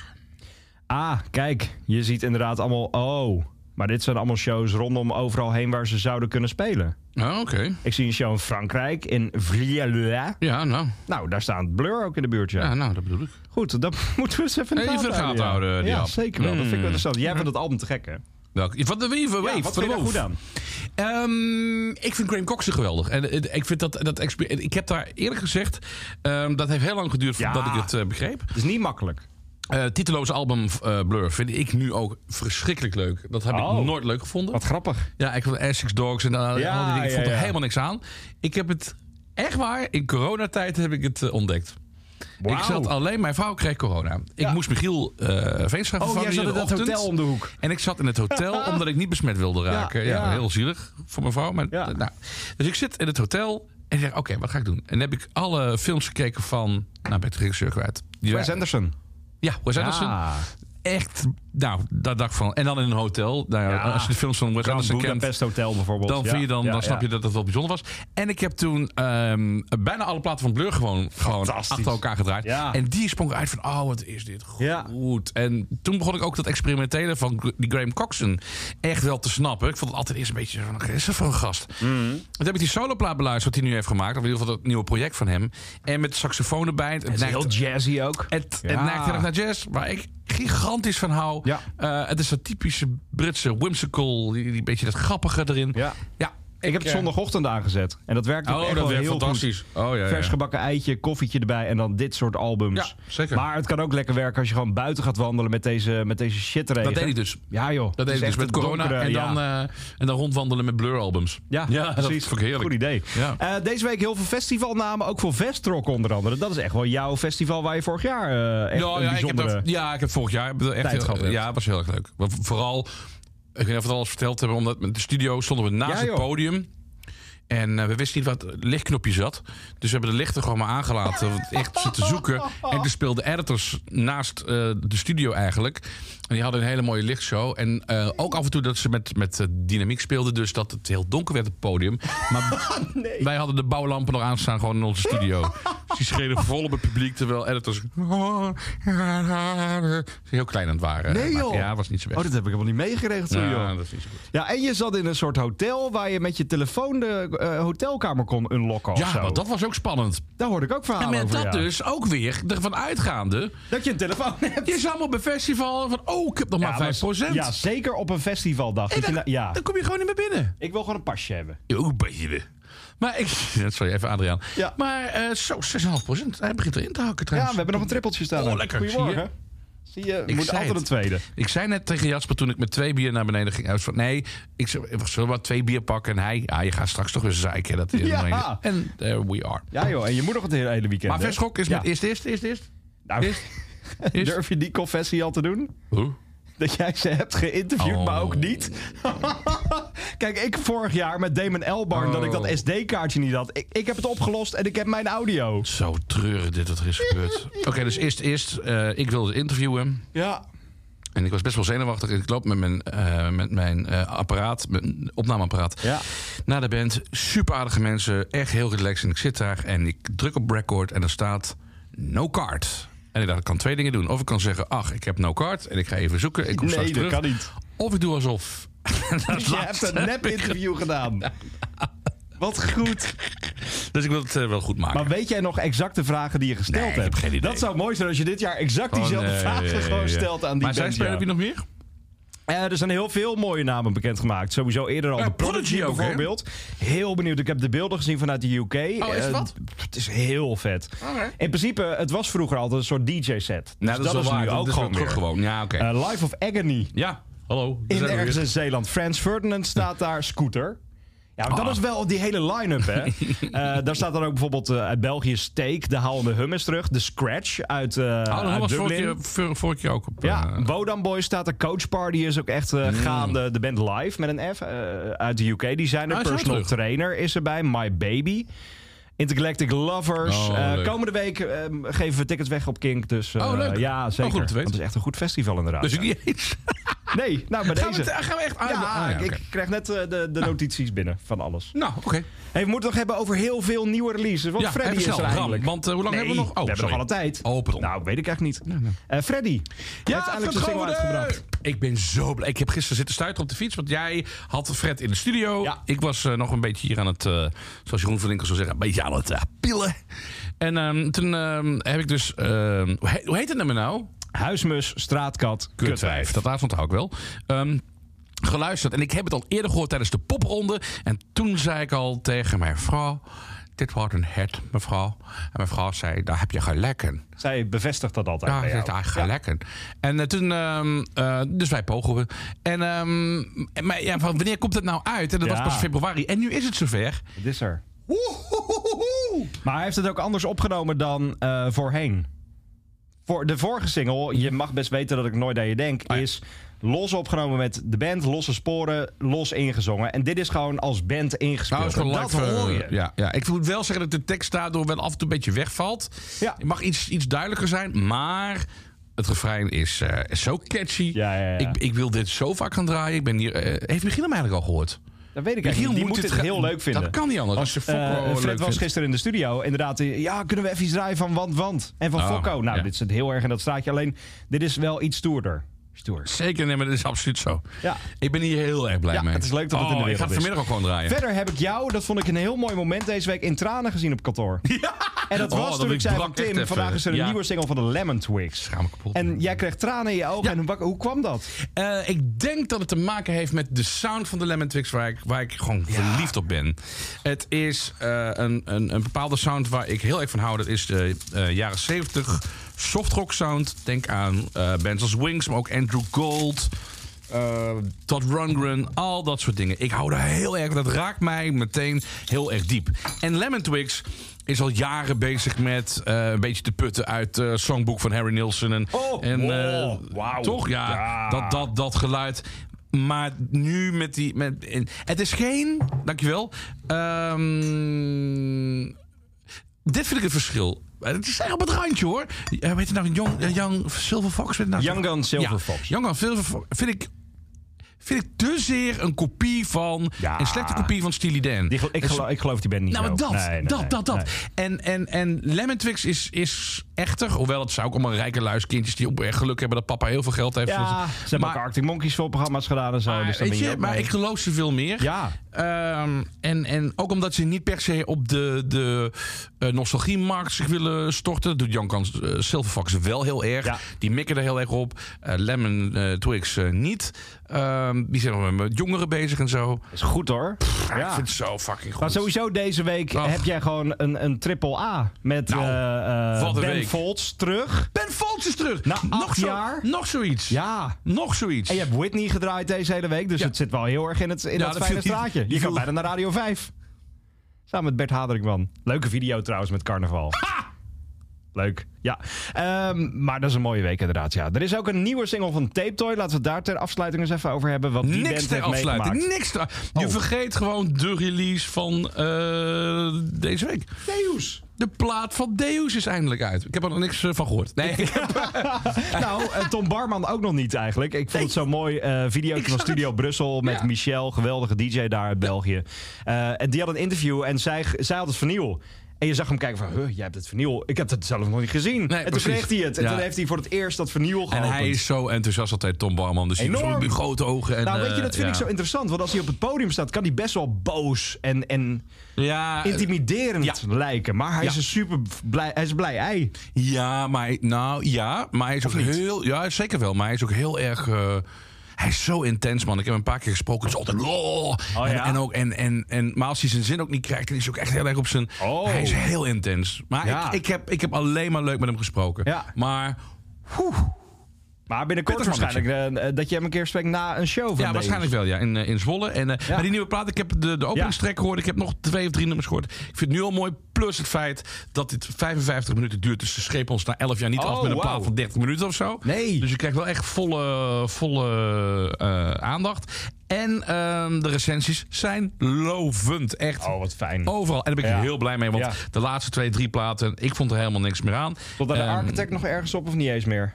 Ah, kijk. Je ziet inderdaad allemaal... Oh, Maar dit zijn allemaal shows rondom overal heen waar ze zouden kunnen spelen.
Ah, oké.
Ik zie een show in Frankrijk, in Vlielua.
Ja, nou.
Nou, daar staat Blur ook in de buurt, ja.
Ja, nou, dat bedoel ik.
Goed, dat moeten we eens even in de
Even in de gaten
ja.
houden, Hmm. die
Ja,
app.
zeker wel. Dat vind ik wel interessant. Jij vindt dat album te gek, hè?
Welk- Van de Weaver, Wave.
Ja, wat
van
vind
de
je daar
Wolf.
goed aan?
Ehm, ik vind Graham Coxon geweldig. En eh, ik, vind dat, dat exper- ik heb daar eerlijk gezegd, ehm, dat heeft heel lang geduurd
Ja.
voordat ik het eh, begreep.
Het is niet makkelijk.
Eh titeloos album eh, Blur vind ik nu ook verschrikkelijk leuk. Dat heb
Oh.
ik nooit leuk gevonden.
Wat grappig.
Ja, ik vond Essex Dogs en al,
Ja,
al die dingen. Ik
ja,
vond er
ja.
helemaal niks aan. Ik heb het echt waar, in coronatijd heb ik het eh, ontdekt. Ik zat alleen, mijn vrouw kreeg corona. Ik moest Michiel eh Veenstra
Oh,
vervangen in
jij zat
de
in dat
ochtend.
hotel om de hoek.
En ik zat in het hotel omdat ik niet besmet wilde raken. Ja,
ja.
heel zielig voor mijn vrouw. Maar,
Ja.
nou. Dus ik zit in het hotel en ik zeg, oké, wat ga ik doen? En dan heb ik alle films gekeken van... Nou, ben ik de regisseur kwijt. Die
Wes
waren-
Anderson.
Ja, Wes Anderson.
Ah.
Echt, nou, dat dacht ik van... En dan in een hotel. Nou,
Ja.
Als je de films van Wes
Grand
Anderson kent...
Budapest Hotel bijvoorbeeld.
Dan,
Ja,
vind je dan,
ja,
dan snap
ja.
je dat het wel bijzonder was. En ik heb toen ehm, bijna alle platen van Blur gewoon, gewoon
Fantastisch.
achter elkaar gedraaid.
Ja.
En die sprong uit van, oh, wat is dit goed.
Ja.
En toen begon ik ook dat experimentele van Gr- die Graham Coxon echt wel te snappen. Ik vond het altijd eerst een beetje van, wat is dat voor een gast?
Mhm.
En Toen heb ik die soloplaat beluisterd wat hij nu heeft gemaakt. Of in ieder geval dat nieuwe project van hem. En met saxofoon erbij. Het
Het is
neigt-
heel jazzy ook.
het,
Ja.
het neigt heel erg naar jazz, waar ik gigantisch van hou.
Ja.
Eh, het is dat typische Britse whimsical, die, die beetje dat grappige erin.
Ja.
ja
Ik heb het
eh,
zondagochtend aangezet. En dat werkt ook
Oh,
echt
dat
wel
werkt
heel goed.
fantastisch. Oh, ja, ja.
Vers gebakken eitje, koffietje erbij en dan dit soort albums.
Ja, zeker.
Maar het kan ook lekker werken als je gewoon buiten gaat wandelen met deze, met deze shitregen.
Dat deed ik dus.
Ja joh.
Dat deed
Het is
ik dus
echt
met
het
corona
donkere,
en,
ja.
dan, eh, en dan rondwandelen met Blur-albums.
Ja,
dat
precies.
vond ik heerlijk.
Goed idee.
Ja.
Eh, deze week heel veel festivalnamen, ook voor Vestrock onder andere. Dat is echt wel jouw festival waar je vorig jaar eh echt
Nou,
een
ja, ik heb
bijzondere...
daar- ja, ik heb vorig jaar echt
tijd gehad
heel,
hebt.
Ja, het was heel erg leuk. Maar vooral, ik weet niet of we het al eens verteld hebben, omdat met de studio stonden we naast
Ja,
het
joh.
podium. En eh, we wisten niet wat het lichtknopje zat. Dus we hebben de lichten gewoon maar aangelaten. want echt zitten zoeken. En toen speelden editors naast eh, de studio eigenlijk. En die hadden een hele mooie lichtshow. En eh, ook af en toe dat ze met, met eh, dynamiek speelden. Dus dat het heel donker werd op het podium. Maar wij hadden de bouwlampen nog aanstaan gewoon in onze studio. Dus die schenen vol op het publiek. Terwijl editors heel klein aan het waren.
Nee,
Maar
joh.
Ja, was niet zo best.
Oh, dat heb ik helemaal niet meegeregeld zo
ja,
joh.
dat is niet zo goed.
Ja, en je zat in een soort hotel waar je met je telefoon de eh, hotelkamer kon unlocken of
Oh, Ja,
zo.
want dat was ook spannend.
Daar hoorde ik ook
En
verhalen
met
over,
dat
ja.
dus ook weer ervan uitgaande.
Dat je een telefoon hebt.
Je is allemaal op een festival van, oh, ik heb nog maar 5%.
Ja, zeker op een festivaldag.
en
Dat je
dan,
na- ja.
dan kom je nou- gewoon niet meer binnen.
Ik wil gewoon een pasje hebben.
Yo, baby. Maar ik... Sorry, even Adriaan.
Ja.
Maar eh zo, 6,5%. Hij begint erin te hakken
Ja,
trouwens.
we hebben nog een trippeltje staan.
Oh, lekker,
Goedemorgen. Zie je,
Ik
moet
zei
altijd
het.
een tweede.
Ik zei net tegen Jasper toen ik met twee bier naar beneden ging. Hij was van, nee, ik zei, zullen we maar twee bier pakken? En hij, ja, je gaat straks toch weer zeiken. Dat
Ja.
En there we are.
Ja joh, en je moet nog het hele hele weekend.
Maar
hè?
Verschok is
Ja.
met eerst, eerst, eerst, eerst.
Nou,
Is- is-
Durf je die confessie al te doen?
Hoe?
Dat jij ze hebt geïnterviewd,
Oh.
maar ook niet. Kijk, ik vorig jaar met Damon Elbarn dat ik dat
Oh.
SD-kaartje niet had. Ik, ik heb het opgelost en ik heb mijn audio.
Zo treurig dit wat er is gebeurd. Oké, dus eerst, eerst. eh, ik wilde interviewen.
Ja.
En ik was best wel zenuwachtig. Ik loop met mijn, eh, met mijn eh, apparaat, mijn opnameapparaat,
Ja.
naar de band. Super aardige mensen, echt heel relaxed. En ik zit daar en ik druk op record en er staat no card. En ik dacht, ik kan twee dingen doen. Of ik kan zeggen, ach, ik heb no card en ik ga even zoeken. Ik kom
Nee,
straks
dat
terug.
kan niet.
Of ik doe alsof. Dat
Je hebt
laatste.
een nep-interview gedaan. Wat goed.
Dus ik wil het eh, wel goed maken.
Maar weet jij nog exacte vragen die je gesteld
Nee, ik
hebt?
heb geen idee.
Dat zou mooi zijn als je dit jaar exact
Gewoon,
diezelfde
eh,
vragen
ja,
gewoon
ja, ja.
stelt aan die
Maar zijn
band,
spelen
ja. Dus
heb je nog meer? Nou,
Eh, er zijn heel veel mooie namen bekendgemaakt. Sowieso eerder al
Ja,
de Prodigy,
Prodigy ook, hè?
bijvoorbeeld. Heel benieuwd. Ik heb de beelden gezien vanuit de UK.
Oh, is het
Eh,
wat?
Het is heel vet.
Oké.
In principe, het was vroeger altijd een soort DJ-set. Dus
Nou, wel waar.
nu ook
is wel
gewoon weer.
terug gewoon. Ja, oké.
Eh, Life of Agony.
ja, hallo. daar
In
zijn we
ergens
weer.
in Zeeland. Frans Ferdinand staat daar. Scooter. Ja, maar
Ah.
dat is wel die hele line-up, hè? Eh, daar staat dan ook bijvoorbeeld eh, uit België Steak, de Haalende Hummus terug, de Scratch uit, eh
Oh, dat
uit
was vorig
Dublin.
keer, vor- vorig keer ook op. eh, Mm.
Ja, Wodan Boys staat er. Coach Party is ook echt eh, gaande. De band Live met een F eh, uit de UK. Die zijn er.
Ah, is hij
Personal
terug?
Trainer is erbij. My Baby. Intergalactic Lovers.
Oh,
Eh,
leuk.
komende week eh, geven we tickets weg op Kink. Dus eh,
Oh, leuk.
ja,
Oh,
zeker.
goed om te weten.
Want het is echt een goed festival inderdaad.
Dus
ja.
ik niet eens.
Nee, nou bij
Gaan we,
deze.
het- gaan we echt uit?
Ja,
Ah, ja,
ik
oké. Ah.
krijg net eh, de, de notities binnen van alles.
Nou, oké.
Hey, we moeten het nog hebben over heel veel nieuwe releases. Want
Ja,
Freddy
even
is
snel,
er
Bram,
eindelijk.
want, eh, hoe lang hebben we nog? Oh,
we hebben
sorry.
nog alle tijd.
Oh, pardon.
Nou, weet ik eigenlijk niet. Eh, Freddy heeft eindelijk zijn
Fred
single
Gouden!
uitgebracht.
Ik ben zo blij. Ik heb gisteren zitten stuiteren op de fiets. Want jij had Fred in de studio.
Ja.
Ik was eh, nog een beetje hier aan het, eh, zoals Jeroen van Linkel zou zeggen, een beetje aan het eh, pillen. En ehm, toen ehm, heb ik dus, ehm, hoe he- hoe heet het nummer nou?
Huismus, straatkat,
Kutwijf.
kutwijf.
Dat laatste onthoud ik wel. Ehm, geluisterd. En ik heb het al eerder gehoord tijdens de popronde. En toen zei ik al tegen mijn vrouw... Dit wordt een hit, mevrouw. En mijn vrouw zei, daar heb je gelijk in.
Zij bevestigt dat altijd
Ja,
bij
ik
jou.
zit eigenlijk lekker. En eh, toen, ehm, eh, dus wij pogen we. En, ehm, en- maar ja, van wanneer komt het nou uit? En dat
Ja.
was pas februari. En nu is het zover. Nou,
Het is er. Maar hij heeft het ook anders opgenomen dan eh, voorheen. Voor de vorige single, je mag best weten dat ik nooit aan je denk,
Oh
is los opgenomen met de band, losse sporen, los ingezongen. En dit is gewoon als band ingespeeld.
Nou, is gewoon
En
live.
dat hoor
eh,
je.
ja, ja. Ik moet wel zeggen dat de tekst daardoor wel af en toe een beetje wegvalt.
Ja.
Het mag iets, iets duidelijker zijn, maar het refrein is eh, zo catchy.
Ja, ja, ja.
Ik, ik wil dit zo vaak gaan draaien. Ik ben hier, eh, heeft Michiel hem eigenlijk al gehoord?
Dat weet ik eigenlijk. niet. Die moet het
ga-
heel leuk vinden.
Dat kan niet anders. Als je Fokko
Eh,
leuk
Fred was
vindt.
gisteren in de studio. Inderdaad, eh, ja, kunnen we even iets draaien van Want Want? En van
Oh,
Fokko. Nou,
ja.
dit zit heel erg in dat straatje. Alleen, dit is wel iets stoerder. Stoer.
Zeker, nee, maar dat is absoluut zo.
Ja.
Ik ben hier heel erg blij
Ja,
mee.
het is leuk dat het
oh,
in de
Ik ga
wereld
het
is.
vanmiddag ook gewoon draaien.
Verder heb ik jou, dat vond ik een heel mooi moment deze week, in tranen gezien op kantoor. En dat
Oh,
was
dat
toen ik
ik
zei van
brak echt
Tim,
even.
vandaag is er een
Ja.
nieuwe single van de Lemon Twigs.
Schaam me kapot.
En jij kreeg tranen in je ogen. En hoe, bak- hoe kwam dat?
Eh, ik denk dat het te maken heeft met de sound van de Lemon Twigs... waar ik, waar ik gewoon verliefd op ben. Het is eh, een, een, een bepaalde sound waar ik heel erg van hou. Dat is de eh, jaren 70 softrock sound. Denk aan eh bands als Wings, maar ook Andrew Gold... eh Todd Rundgren, al dat soort dingen. Ik hou daar heel erg van. Dat raakt mij meteen heel erg diep. En Lemon Twigs is al jaren bezig met eh, een beetje te putten uit het songboek van Harry Nilsson. En,
Oh,
en,
oh,
eh,
wauw.
Toch? Ja,
Ja.
Dat, dat, dat geluid. Maar nu met die... Met, en- het is geen... Dankjewel. Ehm, dit vind ik het verschil. Eh, Het is echt op het randje hoor. Eh, weet je nou, Young, eh, Young Silver Fox? Weet je nou,
Young Gun Silver Fox.
Young Gun Silver Fox vind ik... Vind ik te zeer een kopie van...
Ja.
Een slechte kopie van Steely Dan.
Die gel- ik,
Een
geloof, ik geloof die band niet
nou, maar
zo.
dat,
Nee, nee,
dat,
nee,
dat, dat,
nee.
En, en, en Lemon Twix is, is echter. Hoewel, het zijn ook allemaal rijke luiskindjes die op echt geluk hebben dat papa heel veel geld heeft.
Ja, ze hebben
maar,
ook Arctic Monkeys veel programma's gedaan en zo.
maar,
dus dan
weet
ben
je,
ook
maar
mee.
ik geloof ze veel meer.
Ja.
Ehm, en, en ook omdat ze niet per se op de, de eh, nostalgiemarkt zich willen storten. Dat doet Jan Kans eh, Silverfox wel heel erg.
Ja.
Die mikken er heel erg op. Eh, Lemon eh, Twigs eh, niet. Ehm, die zijn met jongeren bezig en zo.
Is goed hoor.
Ik
ja.
vind het zo fucking goed.
Maar sowieso deze week
Ach.
heb jij gewoon een, een triple A met
Nou,
eh, eh,
wat een
Ben
week.
Folds terug.
Ben Foltz is terug.
Na
nog
acht
zo-
jaar?
nog zoiets.
Ja.
Nog zoiets.
En je hebt Whitney gedraaid deze hele week, dus
Ja.
het zit wel heel erg in, het, in dat,
dat
fijne
viel- die-
straatje.
die
Je kan
viel-
bijna naar Radio 5. Samen met Bert Haderikman. Leuke video trouwens met carnaval. Leuk, ja. Ehm, maar dat is een mooie week inderdaad, ja. Er is ook een nieuwe single van Tape Toy. Laten we het daar ter afsluiting eens even over hebben. Wat die
Niks
band
ter
heeft
afsluiting.
meegemaakt.
Niks ter- Je
Oh.
vergeet gewoon de release van eh, deze week.
Deus.
De plaat van Deus is eindelijk uit. Ik heb er nog niks eh, van gehoord. Nee, ik heb-
nou, eh, Tom Barman ook nog niet eigenlijk. Ik vond het zo'n mooi eh video
Ik
van
zag
Studio Brussel met
Ja.
Michel, geweldige DJ daar uit België. Eh, en die had een interview en zij, zij had het vernieuw. En je zag hem kijken van, huh, jij hebt het vernieuw. Ik heb het zelf nog niet gezien. en toen
precies.
kreeg hij het. En
Ja.
toen heeft hij voor het eerst dat vernieuw
en
geopend.
hij is zo enthousiast altijd, Tom Barman. Dus hij heeft
Enorm.
zo'n grote ogen. En,
Nou, weet je,
eh,
dat vind
ja.
ik zo interessant. Want als hij op het podium staat, kan hij best wel boos en, en
Ja, eh,
intimiderend
ja.
lijken. Maar hij
Ja.
is een super blij, hij is een blij ei.
ja, maar, nou, ja, maar hij is ook heel... Ja, zeker wel. Maar hij is ook heel erg... eh, hij is zo intens, man. Ik heb hem een paar keer gesproken. Het is altijd... "Oh." en,
ja?
en ook, en, en, en, maar als hij zijn zin ook niet krijgt... dan is hij ook echt heel erg op zijn...
Oh.
Hij is heel intens. Maar
Ja.
ik, ik, heb, ik heb alleen maar leuk met hem gesproken.
Ja.
Maar
Maar binnenkort
Pittig
waarschijnlijk eh, dat je hem een keer spreekt na een show van
Ja, waarschijnlijk wel, ja. In, eh, in Zwolle. En, eh,
Ja.
Maar die nieuwe plaat, ik heb de, de openingstrek gehoord. Ik heb nog twee of drie nummers gehoord. Ik vind het nu al mooi. Plus het feit dat dit 55 minuten duurt. Dus ze schepen ons na 11 jaar niet
Oh,
af met een
wauw.
plaat van 30 minuten of zo.
Nee.
Dus je krijgt wel echt volle, volle eh, aandacht. En ehm, de recensies zijn lovend. Echt.
Oh, wat fijn.
Overal. En daar ben ik
Ja.
heel blij mee. Want
Ja.
de laatste twee, drie platen, ik vond er helemaal niks meer aan.
Tot aan de
Ehm,
architect nog ergens op of niet eens meer?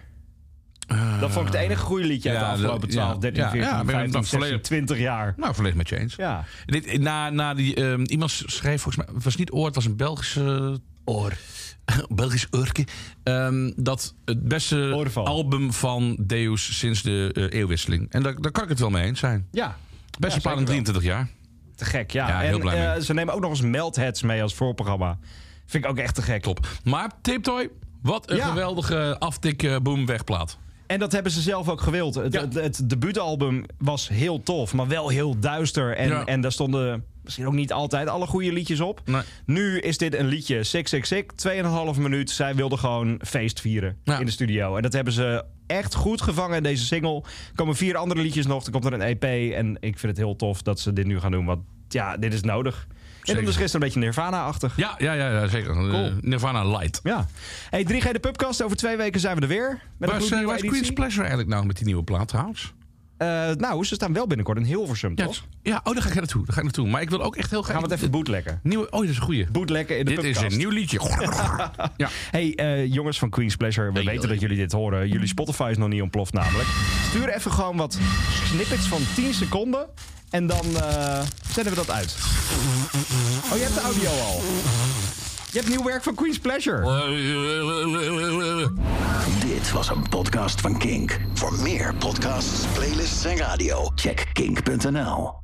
dat vond ik het enige goede liedje uit
ja,
de
dat-
afgelopen 12,
ja.
13,
Ja,
14,
ja, ik ben
15,
het
16,
volledig-
20 jaar.
Nou, volledig met je eens.
Ja.
Dit, na, na die, ehm, iemand schreef volgens mij, het was niet oor, het was een Belgische... Oor. Belgisch oorke. Ehm, dat het beste
Oorval.
album van Deus sinds de eh, eeuwwisseling. En daar, daar kan ik het wel mee eens zijn.
Ja.
Beste
zeker
plaat in
wel.
23 jaar.
Te gek, ja.
Ja,
en
heel blij mee.
eh, ze nemen ook nog eens Meltheads mee als voorprogramma. Vind ik ook echt te gek.
Top. Maar Tiptoy, wat een
Ja.
geweldige aftik eh, boom wegplaat.
En dat hebben ze zelf ook gewild. Het,
Ja.
het, het debuutalbum was heel tof, maar wel heel duister. En,
Ja.
en daar stonden misschien ook niet altijd alle goede liedjes op.
Nee.
Nu is dit een liedje, 666, 2,5 minuut. Zij wilden gewoon feest vieren
Ja.
in de studio. En dat hebben ze echt goed gevangen in deze single. Er komen vier andere liedjes nog, er komt er een EP. En ik vind het heel tof dat ze dit nu gaan doen, want ja, dit is nodig. En
Zeker.
dan is dus gisteren een beetje Nirvana-achtig.
Ja, ja, ja, ja zeker. Eh, Nirvana Light.
Ja. Hey, 3G de Pubcast, over twee weken zijn we er weer.
Waar is,
Met een
eh,
gloednieuwe
waar is
editie.
Queen's Pleasure eigenlijk nou met die nieuwe plaat trouwens?
Eh, nou, ze staan wel binnenkort in Hilversum,
Ja,
toch?
het- ja, oh, daar ga ik naartoe. Daar ga ik naartoe. Maar ik wil ook echt heel graag...
Gaan we het even bootleggen.
Nieuwe, oh, dat is een goeie.
Bootleggen in de
Dit is
podcast.
een nieuw liedje. ja.
Hey, eh, jongens van Queen's Pleasure, we
Hey,
weten
joh. Mm.
dat jullie dit horen. Jullie Spotify is nog niet ontploft namelijk. Stuur even gewoon wat snippets van 10 seconden en dan eh, zetten we dat uit. Oh, je hebt de audio al. Je hebt nieuw werk van Queen's
Eh,
Pleasure.
Dit was een podcast van Kink. Voor meer podcasts, playlists en radio, check kink.nl.